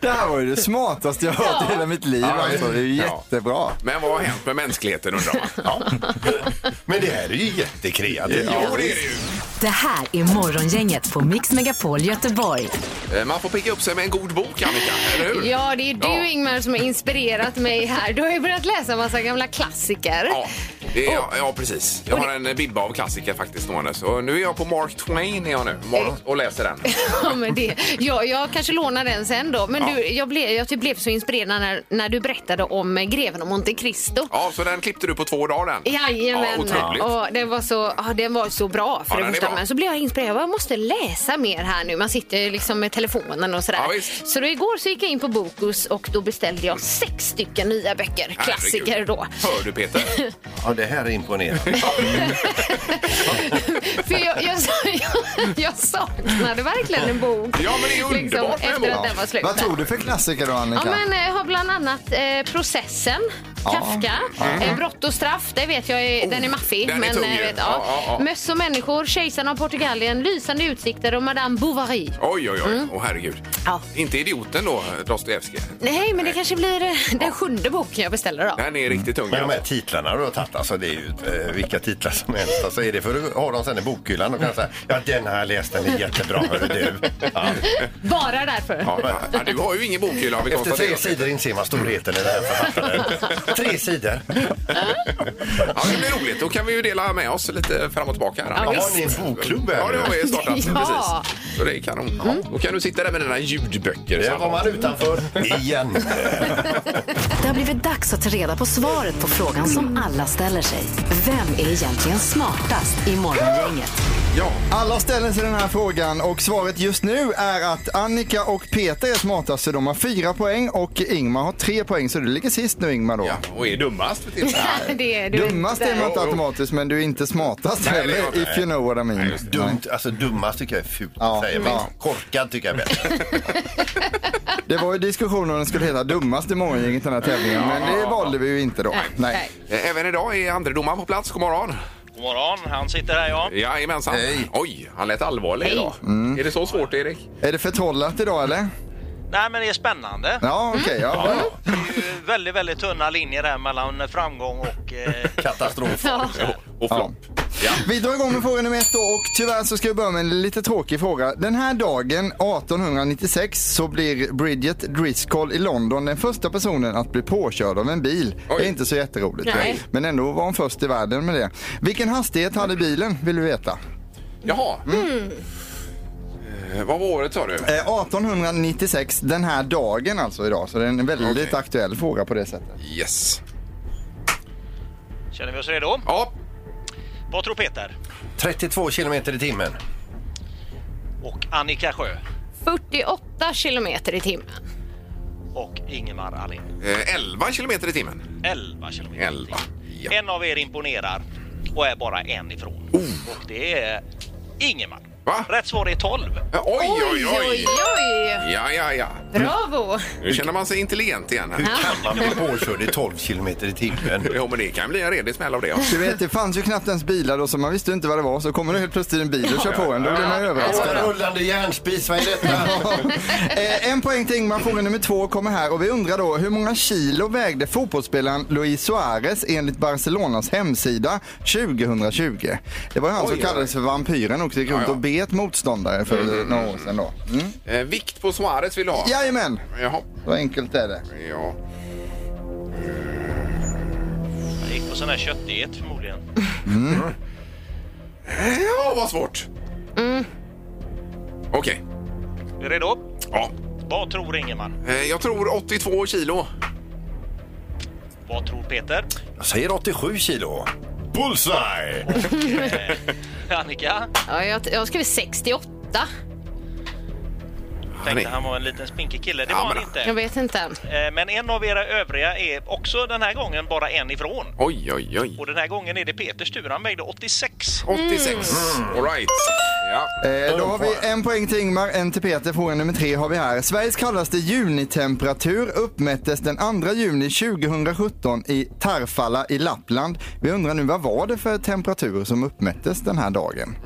Speaker 7: Det här var ju det smartaste jag har hört i hela mitt liv.
Speaker 4: Ja,
Speaker 7: Alltså, det är ju
Speaker 4: ja.
Speaker 7: jättebra.
Speaker 4: Men vad har hänt med mänskligheten undrar man? Ja.
Speaker 5: Men det här är ju jättekreativt.
Speaker 4: Jo, det är det ju.
Speaker 3: Det här är Morgongänget på Mix Megapol Göteborg.
Speaker 4: Eh, Man får picka upp sig med en god bok, Annika, eller hur?
Speaker 6: Ja, det är du
Speaker 4: Ja.
Speaker 6: Ingmar som har inspirerat mig här. Du har ju börjat läsa en massa gamla klassiker.
Speaker 4: Ja, det är, ja, ja, precis. Jag har en bibba av klassiker faktiskt stående. Så nu är jag på Mark Twain är jag nu Morgon- och läser den.
Speaker 6: Ja, men det, ja, jag kanske lånar den sen då. Men du, jag blev, jag typ blev så inspirerad när, när du berättade om eh, greven och Monte Cristo.
Speaker 4: Ja, så den klippte du på två dagar den? Ja,
Speaker 6: Jajamän.
Speaker 4: otroligt.
Speaker 6: och den, var så, ja, den var så bra för
Speaker 4: Ja, den
Speaker 6: det
Speaker 4: är
Speaker 6: första.
Speaker 4: bra.
Speaker 6: Men så blev jag inspirerad. Jag bara, Jag måste läsa mer här nu. Man sitter ju liksom med telefonen och sådär.
Speaker 4: Ja, visst.
Speaker 6: så då igår så gick jag in på Bokus och då beställde jag sex stycken nya böcker. Klassiker
Speaker 4: Herregud.
Speaker 6: då.
Speaker 4: Hör du Peter?
Speaker 5: Ja, det här är imponerande.
Speaker 6: För jag, jag, jag, jag saknade verkligen en bok. Liksom,
Speaker 4: Ja, men det är underbart med en
Speaker 6: efter
Speaker 4: bok.
Speaker 6: att den var slut.
Speaker 7: Vad tog du för klassiker då,
Speaker 6: Ja,
Speaker 7: Annika?
Speaker 6: men eh, jag har bland annat eh, Processen,
Speaker 7: Ja.
Speaker 6: Kafka, eh, Brott och straff, det vet jag, är, den är maffig.
Speaker 4: Mm. Oh, den är
Speaker 6: men,
Speaker 4: tung
Speaker 6: eh,
Speaker 4: ju.
Speaker 6: vet-
Speaker 4: Ja, ja, ja.
Speaker 6: Möss och människor, Kejsaren av Portugalien, Lysande utsikter och Madame Bovary.
Speaker 4: Oj, oj, oj. Åh, herregud.
Speaker 6: Mm. Ja.
Speaker 4: Inte idioten då, Dostojevskij.
Speaker 6: Nej, men det kanske blir eh, den sjunde boken jag beställer då.
Speaker 4: Den är riktigt tung.
Speaker 5: Men de här
Speaker 4: alltså.
Speaker 5: titlarna du har tagit, alltså det är ju eh, vilka titlar som helst. Alltså är det för att ha dem sen i bokhyllan och kan säga ja den har jag läst, den är jättebra, hörru du. Ja.
Speaker 6: Bara därför.
Speaker 4: Ja, ja, du har ju ingen bokhylla har vi
Speaker 5: Efter tre
Speaker 4: konstaterat.
Speaker 5: sidor inser man storheten i den här författaren. Tre sidor.
Speaker 4: Ja, det blir roligt. Då kan vi ju dela med oss lite fram och tillbaka. Här.
Speaker 5: Ja, visst. har ni en bokklubb här
Speaker 4: Ja, det har vi startat.
Speaker 6: Ja. Mm.
Speaker 4: Precis. Så det är kanon. Ja, Då kan du sitta där med dina ljudböcker.
Speaker 5: Där var
Speaker 4: Sandra.
Speaker 5: man utanför igen.
Speaker 3: Det har blivit dags att ta reda på svaret på frågan som alla ställer sig. Vem är egentligen smartast i Morgongänget?
Speaker 4: Ja,
Speaker 7: Alla ställer sig den här frågan och svaret just nu är att Annika och Peter är smartast så de har fyra poäng och Ingmar har tre poäng så du ligger sist nu Ingmar då.
Speaker 4: ja, och är dummast för tillfället.
Speaker 6: Det är du
Speaker 7: Dummast är man
Speaker 4: Jo,
Speaker 7: inte
Speaker 4: jo.
Speaker 7: automatiskt men du är inte smartast
Speaker 4: Nej, det är
Speaker 7: heller
Speaker 4: jag inte.
Speaker 7: if you know what I mean. Mm.
Speaker 5: Dumt, alltså dummast tycker jag är fult
Speaker 7: Ja,
Speaker 5: att säga, men
Speaker 7: ja.
Speaker 5: korkad tycker jag är bättre.
Speaker 7: Det var ju diskussion om den skulle heta dummast i morgongänget den här tävlingen men det valde vi ju inte då. Nej.
Speaker 4: Eh, Även idag är andre domaren på plats. God morgon.
Speaker 9: God morgon, han sitter här ja.
Speaker 4: Jajamensan.
Speaker 5: Hej.
Speaker 4: Oj, han lät allvarlig idag. Är det så svårt, Erik?
Speaker 7: Är det förtrollat idag eller?
Speaker 9: Nej men det är spännande.
Speaker 7: Ja okej, ja. bra.
Speaker 9: Det är ju väldigt, väldigt tunna linjer här mellan framgång och... Eh,
Speaker 5: Katastrof.
Speaker 6: Ja.
Speaker 4: Och
Speaker 7: Ja.
Speaker 4: flopp. Ja.
Speaker 7: Vi drar igång med fråga nummer ett då, och tyvärr så ska vi börja med en lite tråkig fråga. Den här dagen 1896 så blir Bridget Driscoll i London den första personen att bli påkörd av en bil.
Speaker 4: Oj.
Speaker 7: Det är inte så jätteroligt.
Speaker 6: Nej.
Speaker 7: Men ändå var hon först i världen med det. Vilken hastighet hade bilen vill du veta?
Speaker 4: Jaha. Eh, vad var året sa du?
Speaker 7: Eh, 1896 den här dagen alltså idag. Så det är en väldigt
Speaker 4: Okej.
Speaker 7: aktuell fråga på det sättet.
Speaker 4: Yes.
Speaker 9: känner vi oss redo?
Speaker 4: Ja,
Speaker 9: Vad tror Peter?
Speaker 5: 32 kilometer i timmen.
Speaker 9: Och Annika Sjö?
Speaker 6: 48 kilometer i timmen.
Speaker 9: Och Ingemar Ahlin?
Speaker 4: eh, 11 kilometer i timmen.
Speaker 9: 11 kilometer.
Speaker 4: 11. Ja.
Speaker 9: En av er imponerar och är bara en ifrån. Och det är Ingemar.
Speaker 4: Oh. Va?
Speaker 9: Rätt svar är 12.
Speaker 4: Eh, Oj, oj, oj!
Speaker 6: oj.
Speaker 4: Ja, ja, ja.
Speaker 6: Bravo!
Speaker 4: Nu känner man sig intelligent igen.
Speaker 5: Hur
Speaker 4: Här.
Speaker 5: kan man bli påkörd i 12 kilometer i timmen?
Speaker 4: Jo, men det kan bli en redig smäll av det. ja.
Speaker 7: Du vet, det fanns ju knappt ens bilar då, så man visste ju inte vad det var. Så kommer det helt plötsligt en bil och kör på en, då blir man ju
Speaker 5: Det
Speaker 7: överraskad.
Speaker 5: var en rullande järnspis, vad är detta?
Speaker 7: Eh, en poäng till Ingmar. Fråga nummer två kommer här. Och vi undrar då, hur många kilo vägde fotbollsspelaren Luis Suarez enligt Barcelonas hemsida 2020? Det var ju han som
Speaker 4: Oj,
Speaker 7: kallades för vampyren och gick runt
Speaker 4: ja.
Speaker 7: och bet motståndare för några år sedan då. Mm.
Speaker 4: Eh, vikt på Suarez vill du ha?
Speaker 7: Jajamän,
Speaker 4: Jaha.
Speaker 7: så enkelt är det.
Speaker 4: Ja.
Speaker 9: Jag gick på sån här köttighet förmodligen.
Speaker 4: Eh, Ja, vad svårt. Mm. Okej.
Speaker 9: Är du redo?
Speaker 4: Ja.
Speaker 9: Vad tror Ingemar?
Speaker 4: Eh, Jag tror 82 kilo.
Speaker 9: Vad tror Peter?
Speaker 5: Jag säger 87 kilo. Bullseye!
Speaker 9: Annika?
Speaker 6: Ja, jag, jag skrev 68.
Speaker 4: Nej.
Speaker 9: Tänkte han var en liten spinkig kille. Det
Speaker 4: Ja,
Speaker 9: var han
Speaker 4: men-
Speaker 6: Jag
Speaker 9: inte.
Speaker 6: vet inte.
Speaker 9: Eh, Men en av era övriga är också den här gången bara en ifrån.
Speaker 4: Oj, oj, oj.
Speaker 9: Och den här gången är det Peters tur. Han vägde 86.
Speaker 6: Mm.
Speaker 4: 86. All right. Ja.
Speaker 7: Eh, då har vi en poäng till Ingmar, en till Peter. Fråga nummer tre har vi här. Sveriges kallaste junitemperatur uppmättes den 2 juni 2017 i Tarfalla i Lappland. Vi undrar nu vad var det för temperatur som uppmättes den här dagen?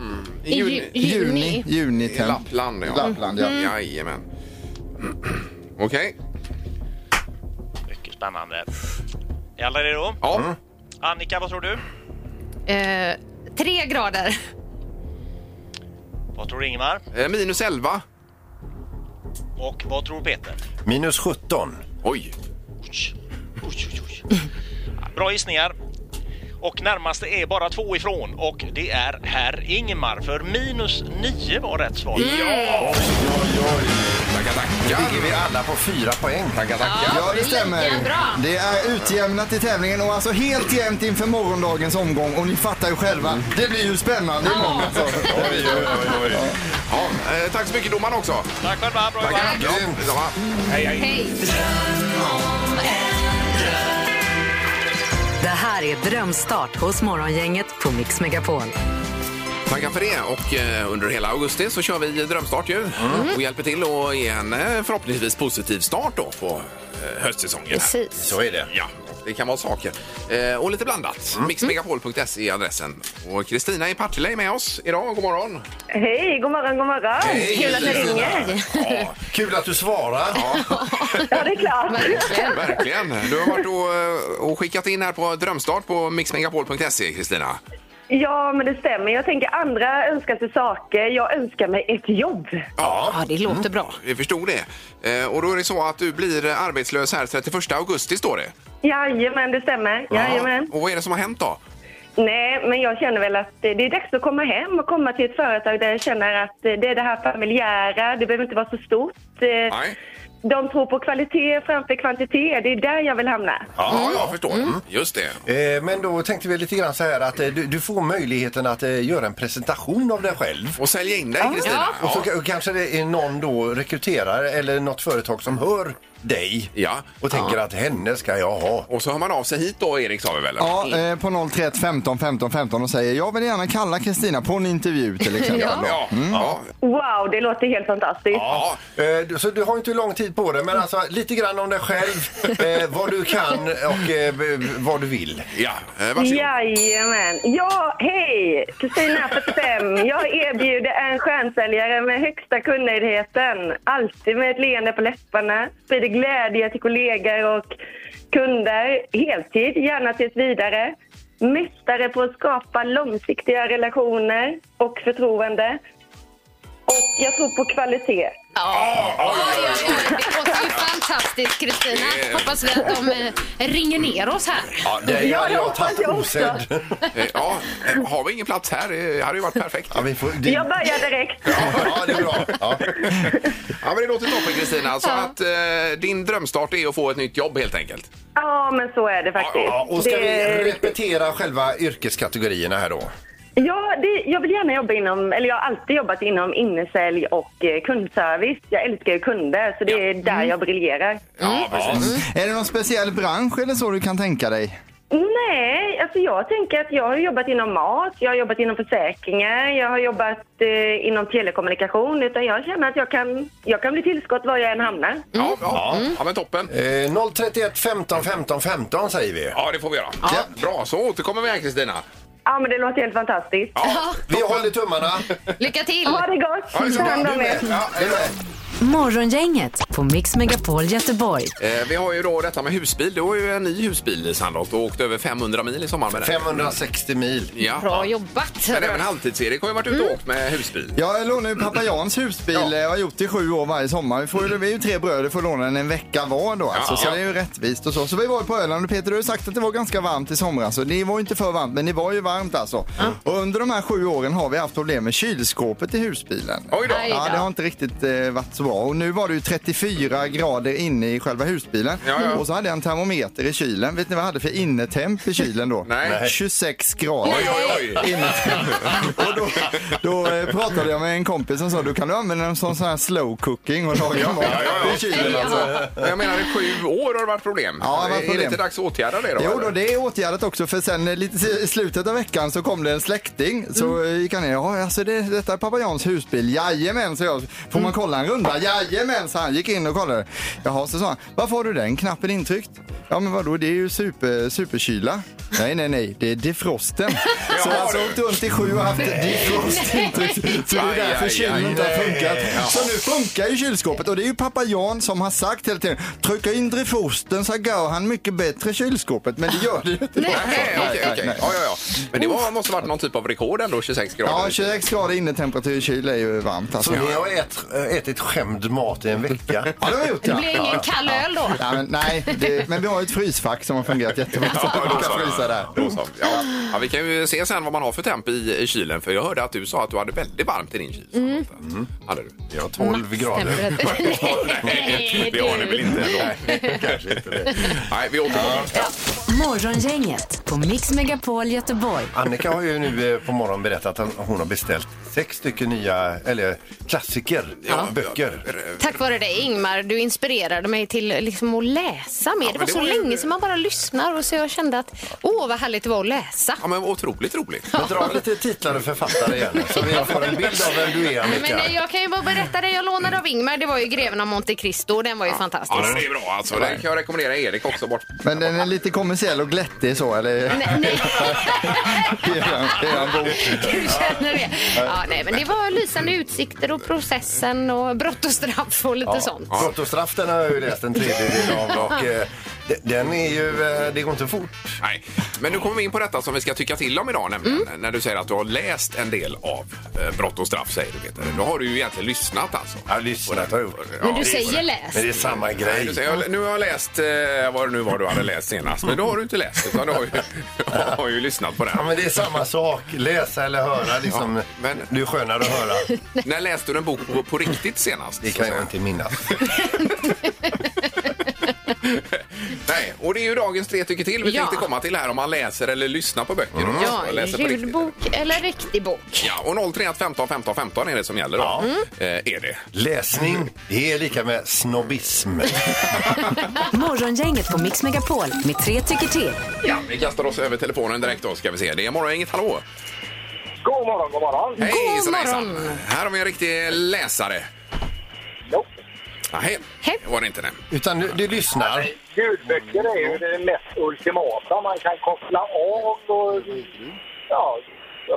Speaker 6: I ju, juni.
Speaker 4: I
Speaker 7: Junitemp.
Speaker 4: Lappland, ja. Mm.
Speaker 7: Lappland, ja.
Speaker 4: Jajamän. Okej.
Speaker 9: Mycket spännande. Är alla redo?
Speaker 4: Ja.
Speaker 5: Mm.
Speaker 9: Annika, vad tror du?
Speaker 6: Eh, tre grader.
Speaker 9: Vad tror Ingmar?
Speaker 4: Eh, Minus 11.
Speaker 9: Och vad tror Peter?
Speaker 5: Minus 17.
Speaker 4: Oj.
Speaker 9: Oj, oj, oj, oj. Bra gissningar. Och närmaste är bara två ifrån och det är herr Ingmar för minus nio var rätt svar.
Speaker 4: Mm. Tackar, tackar.
Speaker 5: Ligger vi alla på fyra poäng.
Speaker 4: Tackar, tackar.
Speaker 7: Ja, det stämmer.
Speaker 6: lika bra.
Speaker 7: Det är utjämnat i tävlingen och alltså helt jämnt inför morgondagens omgång. Och ni fattar ju själva, det blir ju spännande imorgon. Alltså.
Speaker 4: Ja, eh, tack så mycket domaren också.
Speaker 9: Tack själva, bra jobbat!
Speaker 4: Tackar. Ja, detsamma.
Speaker 6: Hej.
Speaker 3: Det här är Drömstart hos Morgongänget på Mix Megapol.
Speaker 4: Tackar för det. Och eh, under hela augusti så kör vi drömstart ju.
Speaker 10: Mm.
Speaker 4: Och hjälper till att ge en eh, förhoppningsvis positiv start då på eh, höstsäsongen. här.
Speaker 6: Precis.
Speaker 5: Så är det. Mm.
Speaker 4: Ja, det kan vara saker. Eh, och lite blandat. Mixmegapol.se E är adressen. Och Kristina i Partille är med oss idag. God morgon!
Speaker 10: Hej, god morgon, god morgon.
Speaker 4: Hej,
Speaker 10: Kul att ni
Speaker 4: Kristina.
Speaker 10: ringer.
Speaker 5: Ja, kul att du svarar.
Speaker 10: Ja, det är klart.
Speaker 6: Verkligen.
Speaker 4: Verkligen! Du har varit och, eh, och skickat in här på drömstart på mixmegapol.se, E, Kristina.
Speaker 10: Ja, men det stämmer. Jag tänker andra önskar sig saker. Jag önskar mig ett jobb.
Speaker 6: Ja, det låter bra.
Speaker 4: Mm. Vi förstod det. Eh, och då är det så att du blir arbetslös här 31 augusti, står det.
Speaker 10: Jajamän, det stämmer. Jajamän.
Speaker 4: Och vad är det som har hänt då?
Speaker 10: Nej, men jag känner väl att det det är dags att komma hem och komma till ett företag där jag känner att eh, det är det här familjära. Det behöver inte vara så stort. Eh,
Speaker 4: Nej.
Speaker 10: De tror på kvalitet framför kvantitet. Det är där jag vill hamna.
Speaker 4: Ja, jag förstår. Mm, Just det.
Speaker 5: Eh, Men då tänkte vi lite grann så här att eh, du, du får möjligheten att eh, göra en presentation av dig själv.
Speaker 4: Och sälja in dig, Kristina.
Speaker 5: Och så ka- kanske det är någon då rekryterare eller något företag som hör dig
Speaker 4: Ja.
Speaker 5: och tänker att henne ska jag ha.
Speaker 4: Och så hör man av sig hit då, Erik, sa vi väl?
Speaker 7: Ja, eh, på 031 15 15 15 och säger jag vill gärna kalla Kristina på en intervju till exempel.
Speaker 6: Ja.
Speaker 4: Ja. ja.
Speaker 10: Wow, det låter helt fantastiskt.
Speaker 4: ja.
Speaker 5: Eh, du- Så du har inte lång tid på dig, men alltså lite grann om dig själv, eh, vad du kan och eh, b- b- vad du vill.
Speaker 4: Ja, eh, varsågod.
Speaker 10: Jajamän. Ja, hej! Kristina 45. Jag erbjuder en stjärnsäljare med högsta kundnöjdheten. Alltid med ett leende på läpparna. Sprider glädje till kollegor och kunder. Heltid, gärna tills vidare. Mästare på att skapa långsiktiga relationer och förtroende. Och jag tror på kvalitet.
Speaker 6: Ja. Oj, oj, oj. Det låter ju fantastiskt, Kristina. Hoppas vi att de eh, ringer ner oss här.
Speaker 5: Ja, det är jag, jag
Speaker 10: hoppas
Speaker 5: tagit
Speaker 10: jag också.
Speaker 5: osedd.
Speaker 4: Eh, Ja, eh, har vi ingen plats här? eh, Det hade ju varit perfekt.
Speaker 5: Ja, vi får, det,
Speaker 10: Jag
Speaker 5: ja,
Speaker 10: börjar direkt.
Speaker 5: ja, det är bra. Ja.
Speaker 4: Ja, men det låter toppen Kristina. Så att eh, din drömstart är att få ett nytt jobb helt enkelt.
Speaker 10: Ja, men så är det faktiskt.
Speaker 5: Ja, och ska
Speaker 10: Det-
Speaker 5: vi repetera själva yrkeskategorierna här då?
Speaker 10: Ja, det, jag vill gärna jobba inom, eller jag har alltid jobbat inom innesälj och eh, kundservice. Jag älskar ju kunder, så det är där jag briljerar.
Speaker 4: Mm.
Speaker 10: Mm.
Speaker 4: Ja, precis.
Speaker 7: Är det någon speciell bransch eller så du kan tänka dig?
Speaker 10: Nej, alltså jag tänker att jag har jobbat inom mat, jag har jobbat inom försäkringar, jag har jobbat eh, inom telekommunikation. Utan jag känner att jag kan, jag kan bli tillskott var jag än hamnar.
Speaker 4: Ja, Mm. ja. ja, men toppen.
Speaker 5: Eh, 031 15 15 15 säger vi.
Speaker 4: Ja, det får vi göra. Bra, så återkommer vi här Kristina.
Speaker 10: Ja, men det låter helt fantastiskt.
Speaker 4: Ja.
Speaker 5: Vi håller tummarna.
Speaker 6: Lycka till!
Speaker 10: Ha det gott!
Speaker 4: Ja, det är så
Speaker 10: Ta
Speaker 4: bra.
Speaker 10: hand om er.
Speaker 5: Ja, hej då.
Speaker 3: Morgongänget på Mix Megapol Göteborg.
Speaker 4: Eh, vi har ju då detta med husbil. Du har ju en ny husbil Sandholt och åkte över 500 mil i sommar med den.
Speaker 5: 560 mil.
Speaker 4: Ja.
Speaker 6: Bra jobbat!
Speaker 4: Men även halvtids-Erik har ju varit ute och åkt med husbil.
Speaker 7: Jag lånar ju pappa Jans husbil
Speaker 4: Ja.
Speaker 7: eh, och har gjort det i sju år varje sommar. Vi, får ju, vi är ju tre bröder får låna den en vecka var då alltså,
Speaker 4: Ja,
Speaker 7: så
Speaker 4: ja.
Speaker 7: det är ju rättvist och så. Så vi var ju på Öland och Peter du har ju sagt att det var ganska varmt i somras och det var ju inte för varmt men det var ju varmt alltså. Och under de här sju åren har vi haft problem med kylskåpet i husbilen.
Speaker 4: Oj då.
Speaker 6: Aj.
Speaker 7: Ja, det har inte riktigt eh, varit så bra. bra. Och nu var det ju 34 grader inne i själva husbilen.
Speaker 4: Ja, ja.
Speaker 7: Och så hade jag en termometer i kylen. Vet ni vad jag hade för innetemp i kylen då?
Speaker 4: Nej.
Speaker 7: 26 grader.
Speaker 4: Oj, oj, oj!
Speaker 7: Och då, då eh, pratade jag med en kompis som sa du kan du använda den som sån här slow cooking och laga mat
Speaker 4: ja, ja, ja.
Speaker 7: i kylen alltså.
Speaker 4: Men Jag menar, i sju år har det varit problem.
Speaker 7: Ja, det har varit
Speaker 4: Är det
Speaker 7: problem.
Speaker 4: inte dags att åtgärda det då?
Speaker 7: Jo
Speaker 4: eller?
Speaker 7: då, det är åtgärdat också för sen eh, lite i slutet av veckan så kom det en släkting så
Speaker 4: Mm.
Speaker 7: eh, gick han ner. Ja, alltså det, detta är pappa Jans husbil. Jajamän, så jag. Får
Speaker 4: Mm.
Speaker 7: man kolla en runda? Jajamän, så han gick in och kollade. Jaha, så sa han. Varför har du den knappen intryckt? Ja men vadå, det är ju super, superkyla. Nej, nej, nej, det är defrosten. så
Speaker 4: Jaha,
Speaker 7: alltså
Speaker 4: du.
Speaker 7: åkt runt i sju och haft defrost intryckt. Så det är
Speaker 4: Aj,
Speaker 7: därför
Speaker 4: aj,
Speaker 7: kylen
Speaker 4: aj.
Speaker 7: inte har funkat.
Speaker 4: Ja.
Speaker 7: Så nu funkar ju kylskåpet och det är ju pappa Jan som har sagt hela tiden trycka in defrosten så går han mycket bättre i kylskåpet. Men det gör det ju inte.
Speaker 4: Nej, okej, okej. Ja, ja, ja. Men det var, måste varit någon typ av rekord ändå, 26 grader.
Speaker 7: Ja, 26 grader innetemperatur i kyl är ju varmt. Alltså.
Speaker 5: Så ni har ät, äh, ätit skämd mat i en vecka?
Speaker 7: Ja, det har jag gjort
Speaker 6: Det
Speaker 7: ja.
Speaker 6: blir
Speaker 7: ja.
Speaker 6: ingen kall öl då.
Speaker 7: Ja, men, nej, det, men vi har ju ett frysfack som har fungerat jättebra. Så
Speaker 4: Ja,
Speaker 7: man
Speaker 4: då så.
Speaker 7: kan frysa där.
Speaker 4: Då så. Ja. Ja, vi kan ju se sen vad man har för temp i, i kylen. För jag hörde att du sa att du hade väldigt varmt i din kyl. Mm. Hade du?
Speaker 5: Ja, 12 grader.
Speaker 6: Maxtemperatur. Nej,
Speaker 4: det har ni väl
Speaker 6: du.
Speaker 4: inte ändå?
Speaker 5: Kanske inte det.
Speaker 4: Nej, vi återkommer.
Speaker 3: Morgongänget på Mix Megapol Göteborg.
Speaker 5: Annika har ju nu eh, på morgonen berättat att hon har beställt sex stycken nya, eller klassiker, böcker.
Speaker 6: Tack vare dig Ingmar, du inspirerade mig till liksom att läsa mer. det
Speaker 4: men
Speaker 6: var
Speaker 4: det
Speaker 6: så
Speaker 4: var ju-
Speaker 6: länge som man bara lyssnar och så jag kände att åh vad härligt det var att läsa.
Speaker 4: Ja, men otroligt roligt.
Speaker 5: Men dra lite titlar och författare igen så vi får en bild av vem du är
Speaker 6: Men
Speaker 5: Annika.
Speaker 6: eh, jag kan ju bara berätta det jag lånade av Ingmar, det var ju Greven av Monte Cristo och den var ju fantastisk.
Speaker 4: Ja, det är bra alltså. Det kan jag rekommendera Erik också. Bort.
Speaker 7: Men den är lite kommersiell och glättig så, eller?
Speaker 6: Nej, nej.
Speaker 7: Det är en- det är en bok.
Speaker 6: Du känner det. Ja, nej, men det var lysande utsikter och processen och brott och straff och lite sånt.
Speaker 5: Brott och straff den har jag ju läst en tredjedel av och eh, de- den är ju, eh, det går inte fort.
Speaker 4: Nej. Men nu kommer vi in på detta som vi ska tycka till om idag nämligen.
Speaker 5: Mm.
Speaker 4: När du säger att du har läst en del av eh, Brott och straff säger du Peter. Då har du ju egentligen lyssnat alltså.
Speaker 5: Jag har lyssnat har jag gjort.
Speaker 4: Ja,
Speaker 6: Men du
Speaker 4: det-
Speaker 6: säger
Speaker 5: Men
Speaker 6: läs.
Speaker 5: det är samma
Speaker 4: Nej, du
Speaker 5: grej.
Speaker 4: säger, jag, nu har jag läst eh, vad det nu var du hade läst senast. Men då har du inte läst utan du har ju, har ju lyssnat på det.
Speaker 5: Ja, men det är samma sak. Läsa eller höra liksom.
Speaker 4: Ja, men-
Speaker 5: Det är ju skönare att höra.
Speaker 4: När läste du en bok på, på riktigt senast?
Speaker 5: Det
Speaker 4: så att
Speaker 5: kan jag
Speaker 4: säga?
Speaker 5: inte minnas.
Speaker 4: Nej, och det är ju dagens tre tycker till vi
Speaker 6: Ja.
Speaker 4: tänkte komma till här om man läser eller lyssnar på böcker.
Speaker 5: Mm.
Speaker 4: Och
Speaker 6: Ja,
Speaker 4: läser på riktigt.
Speaker 6: ljudbok eller riktig bok.
Speaker 4: Ja, och 031 15 15 15 är det som gäller då.
Speaker 5: Mm.
Speaker 4: Eh, är det.
Speaker 5: Läsning, det är lika med snobbism.
Speaker 3: Morgongänget på Mix Megapol med tre tycker till.
Speaker 4: Ja, vi kastar oss över telefonen direkt då ska vi se. Det är morgon, inget hallå.
Speaker 1: God morgon, god morgon.
Speaker 4: Hej,
Speaker 6: God
Speaker 4: hejsan, hejsan.
Speaker 6: morgon.
Speaker 4: Här har vi en riktig läsare.
Speaker 1: Jo.
Speaker 4: Nej,
Speaker 6: Hej.
Speaker 4: det var det inte. Nej.
Speaker 5: Utan du, du lyssnar.
Speaker 1: Ljudböcker är ju det mest ultimata. Man kan koppla av och... Ja,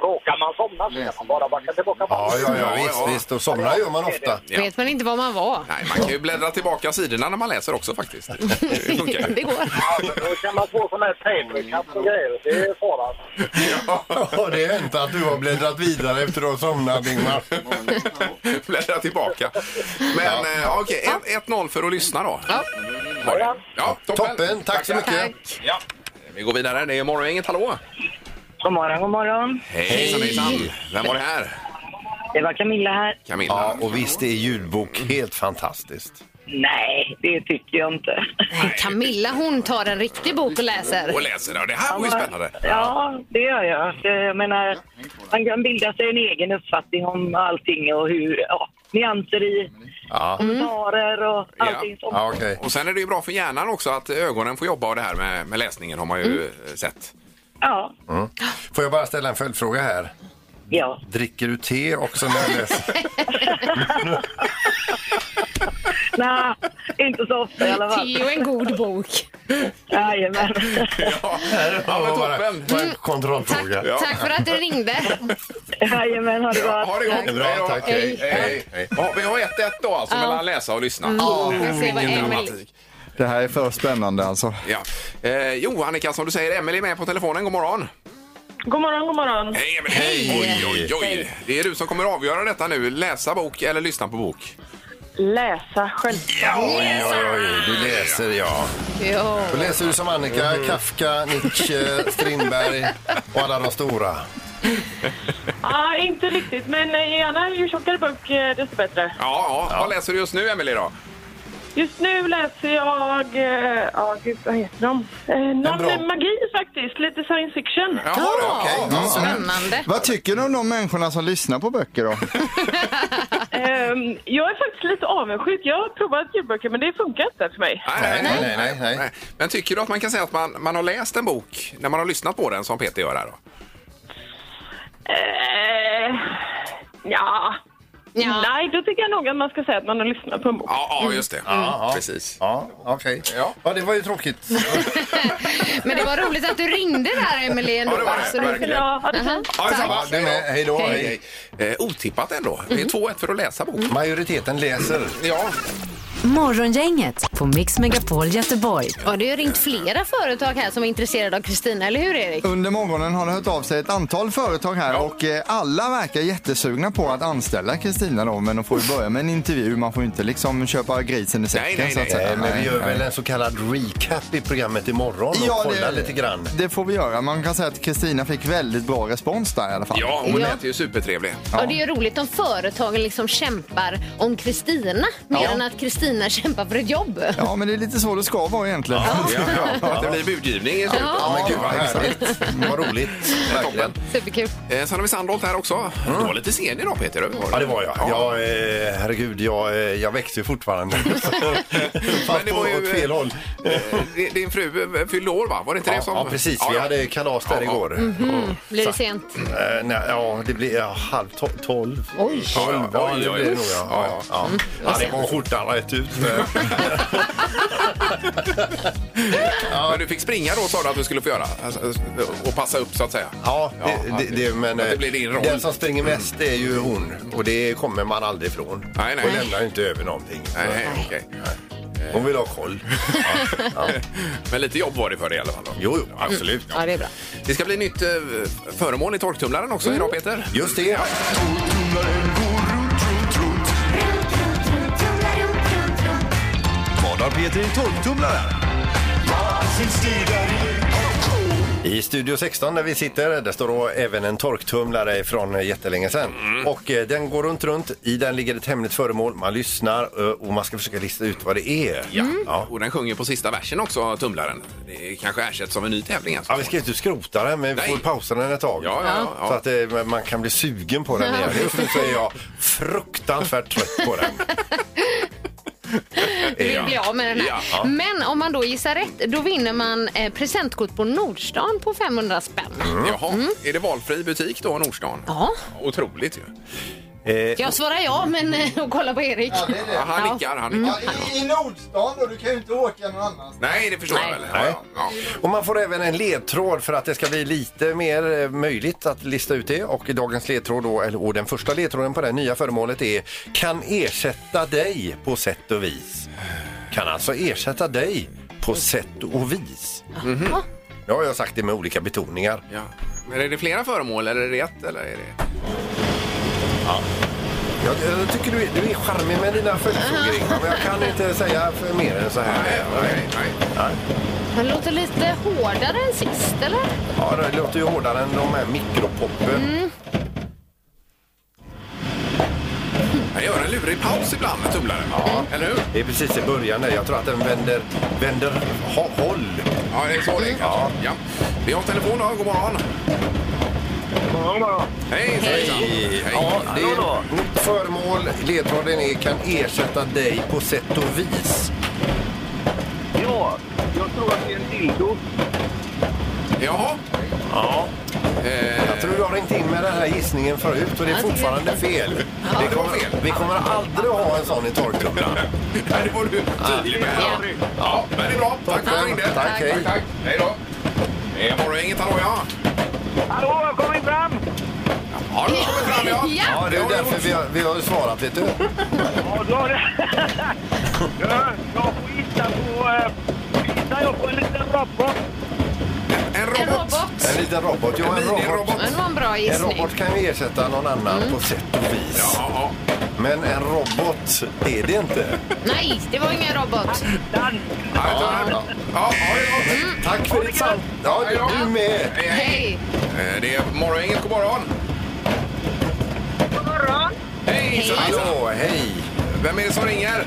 Speaker 1: råkar man somna så kan man bara backa tillbaka.
Speaker 5: Ja, ja, ja,
Speaker 4: Ja,
Speaker 5: visst,
Speaker 4: ja.
Speaker 5: visst. Och somnar gör man ofta.
Speaker 4: Ja.
Speaker 6: Vet man inte var man var.
Speaker 4: Nej, man kan ju bläddra tillbaka sidorna när man läser också faktiskt. Det funkar ju.
Speaker 6: Det går.
Speaker 1: Ja, men då kan man få sån här papercup och grejer. Det är faran.
Speaker 5: Ja, det är inte att du har bläddrat vidare efter att ha somnat, Ingmar.
Speaker 4: Bläddra tillbaka. Men eh, okej, okay, 1-0 för att lyssna då.
Speaker 6: Ja.
Speaker 4: Var det? Ja, toppen.
Speaker 5: Toppen, tack så mycket.
Speaker 6: Tack.
Speaker 4: Ja. Vi går vidare. Det är Morgongänget. Hallå!
Speaker 2: God morgon, god morgon.
Speaker 4: Hej! Hejsan, hejsan. Vem var det här?
Speaker 2: Det var Camilla här.
Speaker 4: Camilla.
Speaker 5: Ja, och visst är ljudbok helt fantastiskt.
Speaker 2: Nej, det tycker jag inte.
Speaker 6: Camilla hon tar en riktig bok och läser.
Speaker 4: Och läser. Ja, Det här var ju spännande.
Speaker 2: Ja, det gör jag. Det- Jag menar, man kan bilda sig en egen uppfattning om allting och hur, ja, nyanser i
Speaker 11: Mm.
Speaker 5: Ja,
Speaker 2: kommentarer och allting sånt.
Speaker 5: ja okej.
Speaker 4: Mm. Och sen är det ju bra för hjärnan också att ögonen får jobba och det här med, med läsningen har man ju eh, sett.
Speaker 2: Ja,
Speaker 5: Får jag bara ställa en följdfråga här?
Speaker 2: ja.
Speaker 5: Dricker du te också när du läser?
Speaker 2: Nej, inte så ofta i alla
Speaker 6: Det är
Speaker 2: fall.
Speaker 6: ju en god bok.
Speaker 2: Jajamän.
Speaker 4: Ja, ja men
Speaker 5: var bara-
Speaker 4: toppen!
Speaker 5: bara en kontrollfråga.
Speaker 4: Ja.
Speaker 6: Tack för att du ringde.
Speaker 2: Jajamän, ha det
Speaker 4: Ja,
Speaker 2: bra.
Speaker 4: Ha det gott!
Speaker 5: Bra,
Speaker 4: Hej då.
Speaker 5: tack.
Speaker 4: Hej, hej, hej. Ja, vi har 1-1 då alltså mellan läsa och lyssna.
Speaker 6: Vi får se vad
Speaker 4: Vilken
Speaker 6: Emily-
Speaker 4: dramatik.
Speaker 7: Det här är för spännande alltså.
Speaker 4: Ja. Eh, jo, Annika, som du säger, Emelie är med på telefonen. God morgon!
Speaker 10: God morgon, god morgon.
Speaker 4: Hej, Emelie! Oj, oj, oj! Det är du som kommer avgöra detta nu. Läsa bok eller lyssna på bok?
Speaker 10: Läsa själv.
Speaker 5: Oj, oj, oj, du läser, ja.
Speaker 6: Ja.
Speaker 5: Då läser du som Annika, Kafka, Nietzsche, Strindberg och alla de stora.
Speaker 11: Ja, Ah, inte riktigt, men eh, gärna ju tjockare bok eh, desto bättre.
Speaker 4: Ja, ja. Vad läser du just nu, Emelie då?
Speaker 11: Just nu läser jag... eh, Ja, gud, vad heter de? Eh, Någon
Speaker 4: bra-
Speaker 11: med magi faktiskt, lite science fiction.
Speaker 4: Ja,
Speaker 7: Ja.
Speaker 6: Spännande.
Speaker 7: Vad tycker du om de människorna som lyssnar på böcker då?
Speaker 11: Ehm, jag är faktiskt lite avundsjuk. Jag har provat ljudböcker, men det funkar inte för mig.
Speaker 4: Nej, nej, nej, nej, Men tycker du att man kan säga att man, man har läst en bok när man har lyssnat på den som Peter gör här då?
Speaker 11: Eh, ja. Nej, då tycker jag nog att man ska säga att man har lyssnat på en bok.
Speaker 4: Ja, Mm. ja just det.
Speaker 5: Ja, ja.
Speaker 4: Precis.
Speaker 5: Ja, okej. Ja. det var ju tråkigt.
Speaker 6: Men det var roligt att du ringde där, Emelie. ändå.
Speaker 4: Ja, det var det.
Speaker 6: Så du-
Speaker 4: Verkligen.
Speaker 11: Ja, ha det fint.
Speaker 4: Ja, detsamma.
Speaker 5: Du med. Hej då. Hej.
Speaker 4: Hej, hej. Eh, otippat ändå. Det är 2-1 för att läsa bok.
Speaker 5: Majoriteten läser.
Speaker 4: Ja,
Speaker 3: Morgongänget på Mix Megapol Göteborg.
Speaker 6: Ja, det har ju ringt flera företag här som är intresserade av Kristina, eller hur Erik?
Speaker 7: Under morgonen har det hört av sig ett antal företag här och eh, alla verkar jättesugna på att anställa Kristina då, men de får ju börja med en intervju. Man får ju inte liksom köpa grisen i säcken
Speaker 4: nej,
Speaker 7: så att
Speaker 4: nej.
Speaker 7: säga.
Speaker 5: Nej, men vi gör
Speaker 7: Nej, nej.
Speaker 5: väl en så kallad recap i programmet imorgon och
Speaker 7: Ja,
Speaker 5: kollar
Speaker 7: det-
Speaker 5: lite grann.
Speaker 7: Det får vi göra. Man kan säga att Kristina fick väldigt bra respons där i alla fall.
Speaker 4: ja hon
Speaker 6: Ja.
Speaker 4: lät ju supertrevlig.
Speaker 6: Ja. det är ju roligt om företagen liksom kämpar om Kristina mer än att Kristina kämpar för ett jobb.
Speaker 7: Ja, men det är lite så det ska vara egentligen.
Speaker 4: Ja, ja. Att det blir budgivning i slutet.
Speaker 5: Ja, men gud vad härligt. Vad roligt. Verkligen.
Speaker 4: Toppen.
Speaker 6: Superkul.
Speaker 4: Eh, sen har vi Sandholt här också. Du var lite sen idag Peter. du.
Speaker 5: Ja, det var jag. jag eh, herregud, jag, eh, jag växer ju fortfarande. Fast
Speaker 4: det
Speaker 5: på
Speaker 4: var ju,
Speaker 5: åt fel
Speaker 4: eh,
Speaker 5: håll.
Speaker 4: Eh, di- Din fru eh, fyllde år va? Var det inte
Speaker 5: Ja,
Speaker 4: det som...
Speaker 5: ja, precis. Vi hade kalas där
Speaker 4: Ja, ja.
Speaker 5: igår.
Speaker 6: Blir det sent?
Speaker 5: Eh, nej, ja, det blir ja, halv to- tolv. Oj!
Speaker 4: Oj,
Speaker 5: Tolv, ja,
Speaker 4: oj,
Speaker 5: det
Speaker 4: oj.
Speaker 5: blir det nog. Ja, ja, ja.
Speaker 4: Mm.
Speaker 5: ja
Speaker 4: Alltså-
Speaker 5: det var skjortan rätt ut. men-
Speaker 4: Ja. Men du fick springa då sa du att du skulle få göra. Alltså, Och passa upp så att säga.
Speaker 5: Ja, det, det, det, men
Speaker 4: att det
Speaker 5: eh,
Speaker 4: blir din roll.
Speaker 5: den som springer mest är ju hon och det kommer man aldrig ifrån.
Speaker 4: Nej, nej.
Speaker 5: Och lämnar ju inte över någonting.
Speaker 4: Nej, nej, okej.
Speaker 5: Hon vill ha koll. ja, ja.
Speaker 4: Men lite jobb var det för dig i alla fall. Då.
Speaker 5: Jo, jo, absolut.
Speaker 6: Ja, det är bra.
Speaker 4: Det ska bli nytt eh, föremål i torktumlaren också idag Peter.
Speaker 5: Mm. Just det.
Speaker 12: Vad har Peter i torktumlaren?
Speaker 5: I Studio 16 där vi sitter, där står då även en torktumlare från eh, jättelänge sedan.
Speaker 4: Mm.
Speaker 5: Och eh, den går runt, runt. I den ligger ett hemligt föremål. Man lyssnar eh, och man ska försöka lista ut vad det är. Ja. Ja.
Speaker 4: Och den sjunger på sista versen också, tumlaren. Det kanske ersätts av en ny tävling. Alltså.
Speaker 5: Ja, vi ska inte skrota den, men vi
Speaker 4: Nej.
Speaker 5: får pausa den ett tag.
Speaker 4: Ja, ja, ja.
Speaker 5: Så att eh, man kan bli sugen på den igen. Just nu så är jag fruktansvärt trött på den.
Speaker 6: Du vill bli av med den här.
Speaker 4: Ja.
Speaker 6: Men om man då gissar rätt, då vinner man eh, presentkort på Nordstan på 500 spänn.
Speaker 5: Mm.
Speaker 4: Jaha, är det valfri butik då, Nordstan?
Speaker 6: Ja.
Speaker 4: Otroligt ju.
Speaker 5: Eh,
Speaker 6: Jag svarar ja, men eh, och kollar på Erik.
Speaker 4: Ja, han nickar, han nickar.
Speaker 6: Mm.
Speaker 7: I, Nordstan då, du kan ju inte åka någon annanstans.
Speaker 4: Nej, det förstår jag väl. Ja,
Speaker 5: Nej.
Speaker 4: ja.
Speaker 5: Och man får även en ledtråd för att det ska bli lite mer eh, möjligt att lista ut det. Och i dagens ledtråd då, eller och den första ledtråden på det här nya föremålet är kan ersätta dig på sätt och vis. Kan alltså ersätta dig på sätt och vis. Mhm. Nu har jag sagt det med olika betoningar.
Speaker 4: Ja. Men är det flera föremål eller är det ett? Eller är det...
Speaker 5: Jag, jag tycker du är, du är charmig med dina följdfrågor Ingmar, men jag kan inte säga för mer än så här.
Speaker 4: Nej, nej.
Speaker 6: Han låter lite hårdare än sist, eller?
Speaker 5: Ja, det låter ju hårdare än de här
Speaker 4: Mm.
Speaker 5: mikropoppen.
Speaker 4: Jag gör en lurig paus ibland med tumlaren. Ja. Eller hur?
Speaker 5: Det är precis i början där. Jag tror att den vänder, vänder ha, håll.
Speaker 4: Ja, det är så det är
Speaker 5: Ja.
Speaker 4: kanske. Ja. Vi har telefon då. God morgon. Hej, Hej. Hej.
Speaker 5: Ja, det är nytt föremål. Ledtråden är kan ersätta dig på sätt och vis.
Speaker 1: Ja, jag tror att det är en dildo.
Speaker 4: Jaha. Ja. Eh,
Speaker 5: Jag tror du har ringt in med den här gissningen förut och det är fortfarande fel. Vi kommer, vi kommer aldrig att ha en sån i torktumlaren.
Speaker 4: det var du tydlig med. Ja. ja, men det är bra. Tack för att du ringde.
Speaker 5: Tack, hej.
Speaker 4: tack. Hej då. Det är morgongänget. Hallå, ja.
Speaker 1: Hallå, jag kommer fram!
Speaker 4: Ja, du har kommit fram, ja.
Speaker 5: Ja, det är därför vi har, vi har svarat, vet du.
Speaker 1: Ja, då har det... Ja, jag får gissa på... eh, Gissar jag på en liten robot?
Speaker 4: En
Speaker 6: En
Speaker 4: robot.
Speaker 6: robot.
Speaker 5: En liten robot. Jo, en
Speaker 4: En
Speaker 5: robot.
Speaker 4: minirobot.
Speaker 6: Det var en bra
Speaker 5: En
Speaker 6: gissning.
Speaker 5: robot kan ju ersätta någon annan på sätt och vis.
Speaker 4: Ja, ja.
Speaker 5: Men en robot är det inte.
Speaker 6: Nej, det var ingen robot.
Speaker 4: Ja, ja, ja. ja, ja, ja.
Speaker 5: Tack för ditt samtal. Ja, du med.
Speaker 4: Hej, hej.
Speaker 6: Hej!
Speaker 4: Eh, Det är morgongänget. God morgon.
Speaker 13: morgon.
Speaker 4: Hej! Hallå, hej! Vem är det som ringer?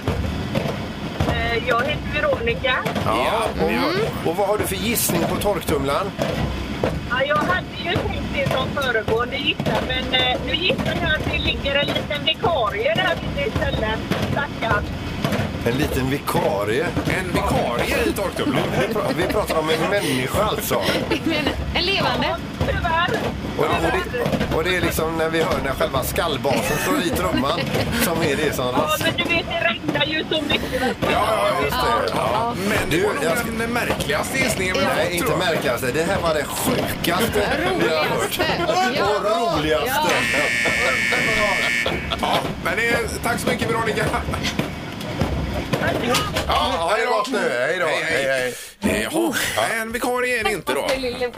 Speaker 13: Eh, Jag heter Veronica.
Speaker 5: Ja, och, och vad har du för gissning på torktumlaren?
Speaker 13: Ja, jag hade ju tänkt det som föregående gissa, men eh, nu gissar jag att det ligger en liten vikarie där vid det stället. Stackarn.
Speaker 5: En liten vikarie.
Speaker 4: En vikarie i torktumlaren?
Speaker 5: Vi pratar om en människa alltså.
Speaker 6: Men, en levande?
Speaker 13: Tyvärr.
Speaker 5: Och, och, det, och det är liksom när vi hör när själva skallbasen slår i trumman som är det som
Speaker 13: Ja,
Speaker 5: ras.
Speaker 13: men du vet, det regnar ju så mycket.
Speaker 5: Ja, just det. Ja. Men du, jag ska...
Speaker 4: Den märkligaste gissningen vi har haft,
Speaker 5: Nej,
Speaker 4: tror
Speaker 5: inte
Speaker 4: jag.
Speaker 5: märkligaste. Det här var det sjukaste vi har hört.
Speaker 6: Ja.
Speaker 5: Och roligaste.
Speaker 4: Ja, men det är, tack så mycket Veronica. Ja, ha det gott nu.
Speaker 5: Hej då.
Speaker 4: Hej, hej. Jaha, en vikarie är det inte då.
Speaker 7: liten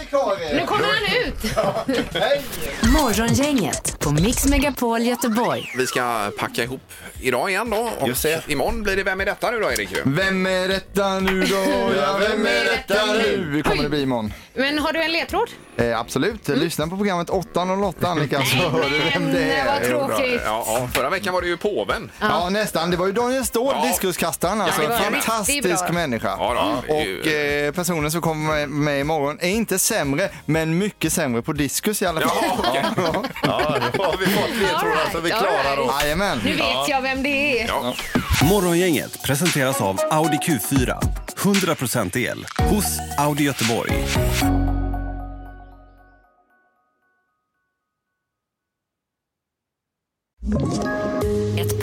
Speaker 7: vikarie.
Speaker 6: Nu kommer han ut!
Speaker 3: Morgongänget på Mix Megapol Göteborg.
Speaker 4: Vi ska packa ihop idag igen då. Och imorgon blir det Vem är detta nu då Erik? ju?
Speaker 7: Vem är detta nu då? Ja, vem är detta nu? kommer det bli imorgon.
Speaker 6: Men har du en ledtråd?
Speaker 7: Eh, absolut,
Speaker 4: Mm.
Speaker 7: lyssna på programmet 808 Annika så hör du vem det
Speaker 6: men,
Speaker 7: är.
Speaker 6: Mm, vad tråkigt.
Speaker 4: Ja, ja, förra veckan var det ju påven.
Speaker 7: Ja, nästan. Det var ju Daniel Ståhl, diskuskastaren. Alltså,
Speaker 4: Ja, det var en riktigt
Speaker 7: fantastisk
Speaker 4: bra.
Speaker 7: människa.
Speaker 4: Ja, då, det är ju-
Speaker 7: Och eh, personen som kommer med- med imorgon är inte sämre, men mycket sämre på diskus i alla fall. Ja,
Speaker 5: Ja, då har vi fått ledtrådar så alltså vi klarar oss.
Speaker 7: Jajamän.
Speaker 6: Nu vet jag vem det är.
Speaker 12: Morgongänget presenteras av Audi Q4. 100% el hos Audi Göteborg.
Speaker 14: Ett